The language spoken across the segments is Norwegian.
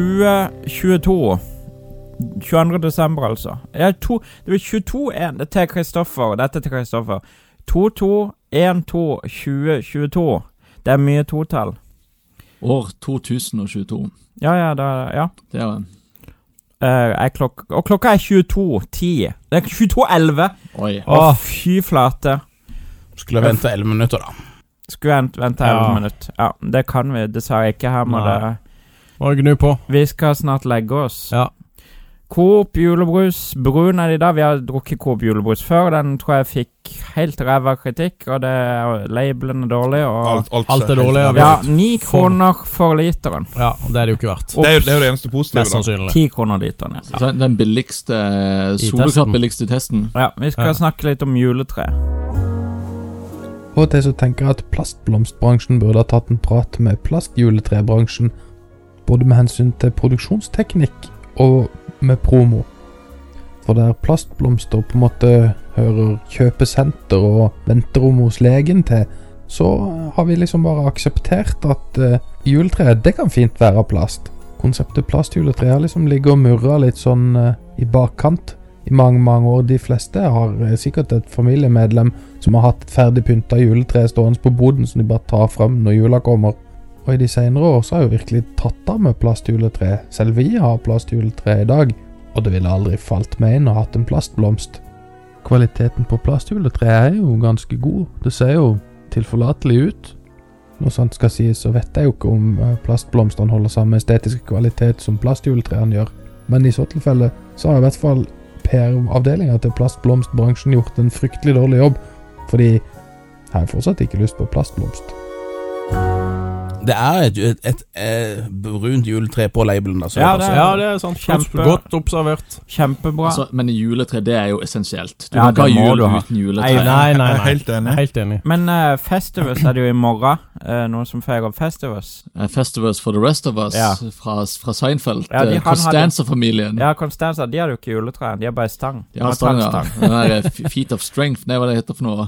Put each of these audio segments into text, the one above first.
2-2-2022. 22. desember, altså. Ja, to, det var 22-1 til Kristoffer. Dette er til Kristoffer. 2-2-1-2-2022. Det er mye totall. År 2022. Ja, ja, da, ja. Det er jo en Eh, er klok og klokka er 22.10. Det er 22.11! Oi. Å, fy flate. Skulle vente 11 minutter, da. Skulle vent, vente 11 Ja. minutter. Ja, det kan vi dessverre ikke. Her må Nei. det Må gnu på. Vi skal snart legge oss. Ja. Coop julebrus, brun er de da. Vi har drukket Coop julebrus før. Den tror jeg fikk helt ræva kritikk, og det er labelen er dårlig. Ah. Og Alt er dårlig, ja, ja. ni For- kroner for literen. Ja, og det er det jo ikke verdt. Og Det er jo det, er jo det eneste positive. Mest da. sannsynlig. ti kroner literen. Ja. Så Den billigste testen. Soleklart billigste testen. ja, vi skal Ja. snakke litt om juletre. og de som tenker at plastblomstbransjen burde ha tatt en prat med plastjuletrebransjen, både med hensyn til produksjonsteknikk og med promo. For der plastblomster på en måte hører kjøpesenter og venterom hos legen til, så har vi liksom bare akseptert at eh, juletreet, det kan fint være av plast. Konseptet plastjuletre har liksom ligget og murra litt sånn eh, i bakkant i mange, mange år. De fleste har eh, sikkert et familiemedlem som har hatt et ferdig pynta juletre stående på boden som de bare tar fram når jula kommer. Og i de senere år så har jeg jo virkelig tatt av med plastjuletre. Selv vi har plastjuletre i dag, og det ville aldri falt meg inn å hatt en plastblomst. Kvaliteten på plastjuletre er jo ganske god. Det ser jo tilforlatelig ut. Når sant skal sies, så vet jeg jo ikke om eh, plastblomstene holder samme estetiske kvalitet som plastjuletrærne gjør, men i så tilfelle så har i hvert fall PR-avdelinga til plastblomstbransjen gjort en fryktelig dårlig jobb. Fordi jeg har fortsatt ikke lyst på plastblomst. Det er et, et, et, eh, brunt juletre på labelen. Altså. Ja, det er- ja, det er sant. Kjempe- Godt observert. Kjempebra. Altså, men juletre, det er jo essensielt. Du Ja, kan ikke det ha må jul du ha. uten Nei, juletre. Nei, nei, Jeg er nei. helt enig. Jeg er helt enig. Men eh, Festivus er det jo i morgen. eh, noen som feirer Festivus. Eh, Festivus for the rest of us Ja. fra, fra Seinfeld. Ja, de- eh, han hadde- Costanza-familien. Ja, Constanza, de har jo ikke juletre. De har bare stang. De har bare stanger. tannstang. Den der eh, f- Feet of Strength, nei, hva det heter for noe.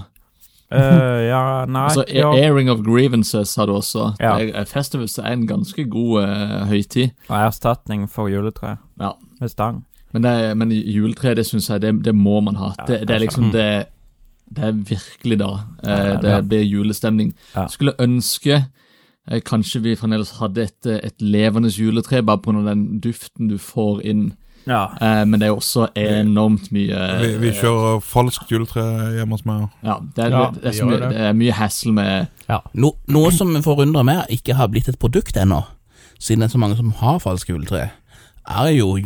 Eh, ja, nei Altså, jo. A- Airing of Grievances har du også. Ja. Det er- eh, Festivus er en ganske god eh, høytid. Og erstatning for juletre Ja. med stang. Men, det, er- men juletre, det syns jeg, det, det må man ha. Ja, Det, det er liksom det Det er virkelig da eh, Ja, det ja. blir julestemning. Ja. Skulle ønske eh, kanskje vi fremdeles hadde et, eh, et levende juletre, bare pga. den duften du får inn. Ja. Eh, men det er jo også enormt mye eh, Vi, vi kjører falskt juletre hjemme hos meg. Ja, det er, Ja, det er, vi så gjør mye, det. det er mye hassle med No, noe som forundrer meg, ikke har blitt et produkt ennå, siden det er så mange som har falske juletre, er jo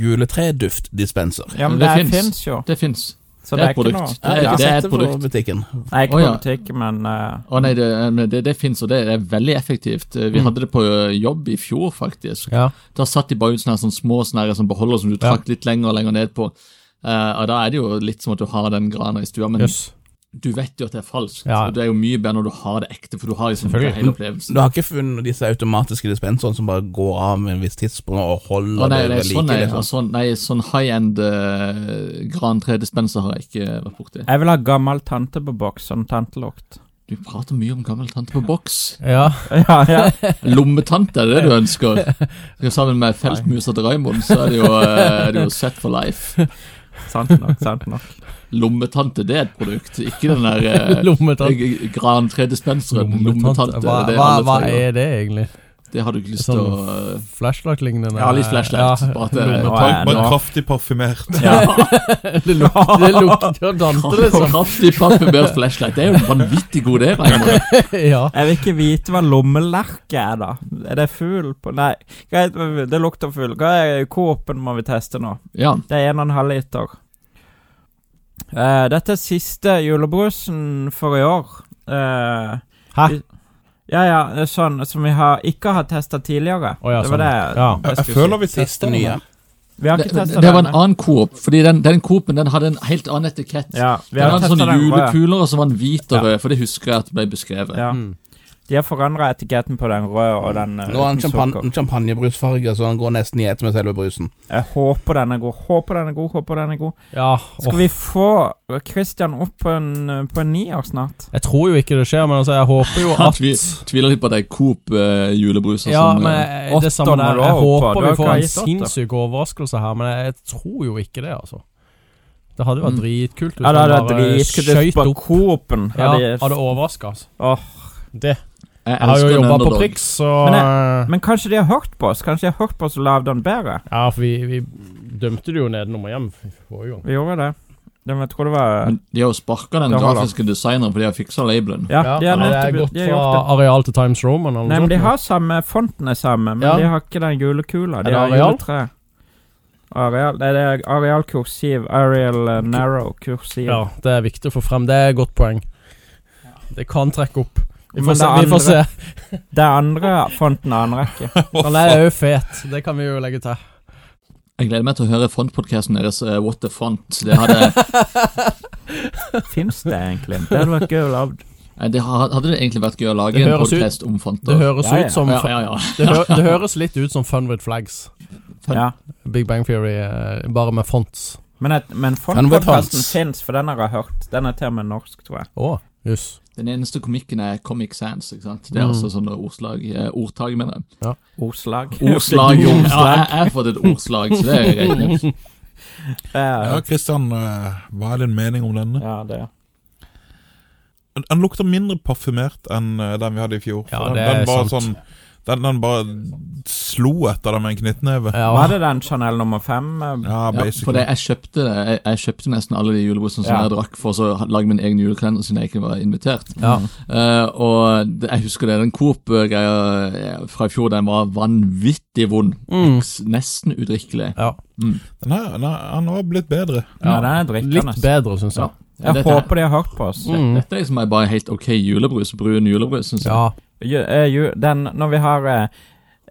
juletreduftdispenser. ja, men Det det, finnes. fins jo. Det fins. Så Det det er er et ikke produkt. noe. Det er- Jeg har det er sett et det på produkt. butikken. Nei, ikke Å, ja. politikk, men eh, Å nei, det, men det, det fins, og det er veldig effektivt. Eh, Vi hadde det på eh, jobb i fjor, faktisk. Mm. Ja. Da satt de bare ut sånne her sånne små sånne her som beholder som du Ja. trakk litt lenger og lenger ned på. Eh, og Da er det jo litt som at du har den grana i stua, men du vet jo at det er falskt. Ja. Og Det er jo mye bedre når du har det ekte, for du har liksom Selvfølgelig. hele opplevelsen. Du har ikke funnet disse automatiske dispenserne som bare går av med en viss tidspunkt og holder Å nei, Mm. det nei, ved sånn, nei, liksom. sånn, nei, sånn high-end uh, gran 3-dispenser har jeg ikke vært borti. jeg vil ha gammel tante på boks, sånn tantelukt. Du prater mye om gammel tante på boks. Ja, Ja, ja. Lommetante, er det det du ønsker? Skal Sammen med feltmusa til Raymond, så er det jo, eh, er det jo set for life. Sant nok. sant nok. Lommetante, det er et produkt, ikke den der eh, lommetant. eh, Gran 3-dispenseren. Lommetante, Lommetant. Hva, det er hva, alle hva trenger. er det egentlig? Det har du ikke lyst til Sånn å eh, Flashlight-lignende? Ja, litt flashlight. Ja, bare at det Nå Bare, er jeg bare nå. kraftig parfymert. det lukter det lukter jo dante, liksom. Kraftig pappebørt flashlight. Det er jo en vanvittig god idé, Raymond. Ja. Jeg vil ikke vite hva lommelerke er, da. Er det fugl på Nei, greit, det lukter fugl. Hva er Coop-en må vi teste nå? Ja, Det er en og en halv liter. Eh, dette er siste julebrusen for i år. Eh, Hæ? vi- Ja, ja, det er sånn som vi har, ikke har testa tidligere. Å ja, det var sånn. det Ja. Jeg, jeg skulle føler vi Siste tester den. nye. Vi har det, ikke testa det var en annen Coop, fordi den, den Coop-en den hadde en helt annen etikett. Ja, vi Den har hadde testet sånne den røde. julekuler og så var den hvit og rød, for det husker jeg at ble beskrevet. Ja. Mm. De har forandra etiketten på den røde og den eh, Nå har han uten champagne, sukker. champagnebrusfarge, så han går nesten i ett med selve brusen. Jeg håper den er god. Håper den er god. Håper den er god. Ja, Skal åh. vi få Christian opp på en, på en nier snart? Jeg tror jo ikke det skjer, men altså, jeg håper jo Han at tvi, tviler litt på at det er Coop eh, julebruser Ja, som men eh, jeg- åtter det samme må der. du Jeg ha opp på. håper Du har vi ikke får en gitt åtte. sinnssyk overraskelse her, men jeg, jeg tror jo ikke det, altså. Det hadde jo Mm. vært dritkult hvis Ja, det hadde han vært bare dritkult skøyt på opp. Coop-en. Ja, Hadde- hadde overraska, altså. Åh. Det. Jeg Jeg har elsker jo en jobba på underdog. Prix, så eh, Men Men kanskje de har hørt på oss? Kanskje de har hørt på oss og lagd den bedre? Ja, for vi, vi dømte det jo nedenom og hjem forrige gang. Vi gjorde det. Det- Jeg tror det var Men de har jo sparka den Det holder. grafiske designeren fordi de har fiksa labelen. Ja, de har men det er nettopp gått de har fra gjort det. areal til Times Roman. eller noe Nei, men de sånt. har samme Fonten er samme, men Ja. de har ikke den gule kula. De Er det har areal? juletre. Areal Nei, det er areal kursiv. Areal eh, narrow kursiv. Ja, det er viktig å få frem. Det er et godt poeng. Det kan trekke opp. Vi Men får, se, det vi får se. andre- Det er andre fonten annen rekke. Han er jo fet. Det kan vi jo legge til. Jeg gleder meg til å høre frontpodkasten deres eh, What the Font. Det hadde, Fins det egentlig? Det hadde vært gøy å lage. eh, det ha- hadde det egentlig vært gøy å lage Det en høres ut- podkast om Det fonter. høres Ja, ja. ut som Ja, ja, ja. Det, hø det høres litt ut som Fun with Flags. Sånn. Ja. Big Bang Theory, eh, bare med fonts. Men, et, men Sånn Fun fontpodkasten with fonts. fins, for den har jeg hørt. Den er til og med norsk, tror jeg. Å, jøss. Den eneste komikken er Comic Sans. ikke sant? Det er Mm. altså sånne ordslag, eh, ordtak, mener jeg. Ordslag. Ordslag. ja, Ordslag. jeg jeg har fått et ordslag, så det er jo greit. nok. Ja, Ja, Christian, eh, hva er din mening om denne? ja, det er Den- Den lukter mindre parfymert enn eh, den vi hadde i fjor. for Ja, den, det er den bare sant. Sånn, den, den bare slo etter deg med en knyttneve. Var Ja. det den Chanel nummer fem? eh, Ja, Ja, for det, basically. jeg, kjøpte, jeg, jeg kjøpte nesten alle de julebrusene som Ja. jeg drakk, for så å lage min egen julekalender siden jeg ikke var invitert. Ja. Mm. Eh, og det, jeg husker det, den Coop-greia eh, fra i fjor, den var vanvittig vond. Mm. S- Nesten udrikkelig. ja. Den her, den her, han har blitt bedre. Nei, den er drikkende. altså. Litt bedre, syns jeg. Ja, Jeg dette, håper de har hørt på oss. Mm. dette er liksom bare en helt ok julebrus, brun julebrus, synes jeg. Ja. Ju, eh, ju, den, når vi har eh,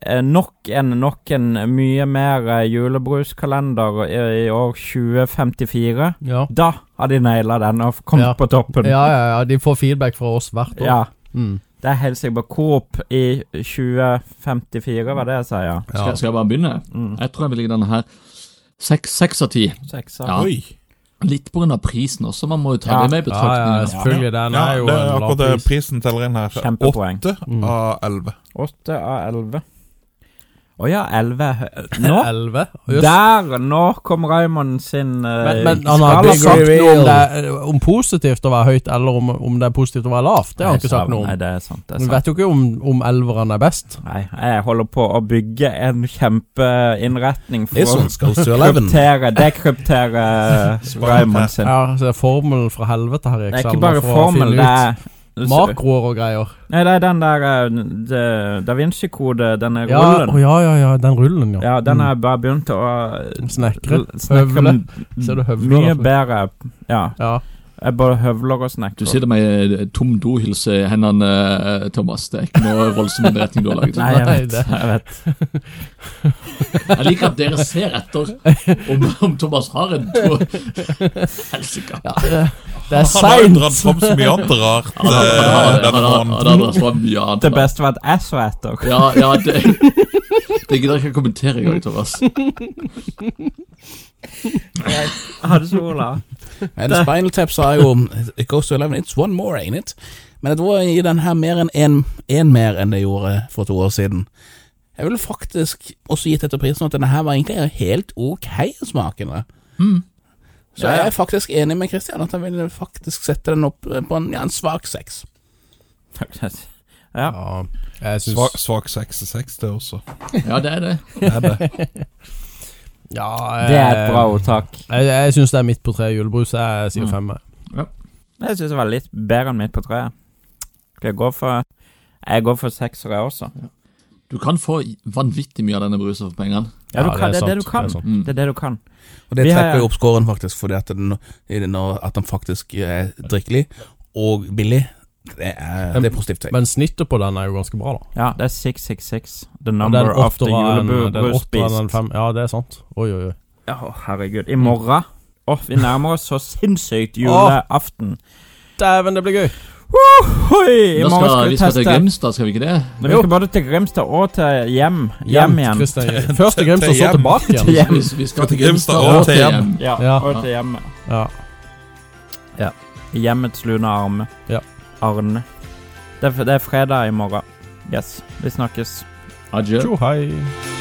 eh, nok en, nok en mye mer eh, julebruskalender i, i år 2054, Ja. da har de naila den og kommet Ja. på toppen. Ja, ja, ja, de får feedback fra oss hvert år. Ja, Mm. Det er helt sikkert Coop i 2054, var det jeg sa, ja. Skal, jeg- skal jeg bare begynne? Mm. Jeg tror jeg vil ligge denne her. Seks seks av ti. Sekser. Ja. Oi! Litt på grunn av prisen også, man må jo ta Ja. det med i Ja, ja, betraktningen. ja, selvfølgelig. Den Ja, er jo det er en akkurat det lav pris. prisen teller inn her. Kjempepoeng. Åtte Mm. av elleve. Åtte av elleve. Å ja, elleve Nå! 11. Der! Nå kom Raymond sin eh, Men, men han har skala på- ikke sagt noe om, det, eh, om positivt å være høyt, eller om, om det er positivt å være lavt. Det har han ikke sagt noe Nei, om. det er sant. Det er Du sant. vet jo ikke om, om elveren er best. Nei, jeg holder på å bygge en kjempeinnretning for This å one's goes to 11. kryptere, dekryptere Raymond sin. Ja, så det er formelen fra helvete her i Det er Excel. ikke bare for å finne formel, ut det er Makroer og greier. Nei, det er den der eh, de- Da Vinci-kode, denne Ja, å rullen. ja, ja, ja, den rullen, ja. Ja, den har jeg bare begynt å Mm. Snekre. l- snekre Høvle. m- Ser du Mye høvler, altså? bedre. Ja. Ja. Jeg bare høvler og snekrer. Du sitter med eh, tom dohylse i hendene, eh, Thomas. Det er ikke noe voldsom innretning du har laget. Nei, jeg Nei, vet. det- Jeg vet. Jeg liker at dere ser etter om, om Thomas har en do. Helsike. ja. Det, det er Han har jo dratt seint. fram så mye annet rart Ja, da- da- eh, da- da- da- denne da- måneden. da- da- så mye annet. Det beste var at jeg så etter. Ja, ja, det Det gidder jeg ikke å kommentere engang, Thomas. Hadde Men Spinal Tap sa jo It goes to 11, it's one more, ain't it? Men jeg tror jeg gir den her mer enn en, en mer enn det gjorde for to år siden. Jeg ville faktisk også gitt etter prisen at denne her var egentlig helt ok smakende. Så Ja, ja. jeg er faktisk enig med Christian at jeg ville faktisk sette den opp eh, på en, ja, en svak seks. Ja. Ja, jeg Sva- syns Svak 66, det også. Ja, det er det. Det er det. ja, Det er et bra ordtak. Jeg, jeg syns det er midt på tre julebrus. Jeg sier Mm. fem. jeg. Jeg syns det var litt bedre enn midt på treet. Skal jeg gå for Jeg går for seksere også. Du kan få vanvittig mye av denne brusen for pengene. Ja, du kan, det, er det du sant, kan. det er sant. Mm. Det er det du kan. Og det Vi har- trekker jo opp scoren faktisk, fordi at den, i den- at den faktisk er drikkelig og billig. Det er, det er positivt. Men snittet på den er jo ganske bra, da. Ja, det er 666. The Og den number of the åtteren- den julebrus åtteren, den beast. fem- Ja, det er sant. Oi, oi, oi. Å, herregud. I morgen Åh, vi nærmer oss så sinnssykt juleaften. Dæven, det blir gøy! Hoi! I Da morgen skal skal vi vi skal til teste. Grimstad, skal vi ikke det? Nei, vi skal både til Grimstad og til hjem. Hjem Hjem, igjen. Kristian. Først til Grimstad, Til så hjem. tilbake Til igjen. hjem. Vi, vi skal til Grimstad Grimstad og og til til hjem. Ja, Ja. og til hjemmet. Ja. Hjemmets lune arme. Ja. Arne. Det er, det er fredag i morgen. Yes. Vi snakkes. Adjø. Tjo hei.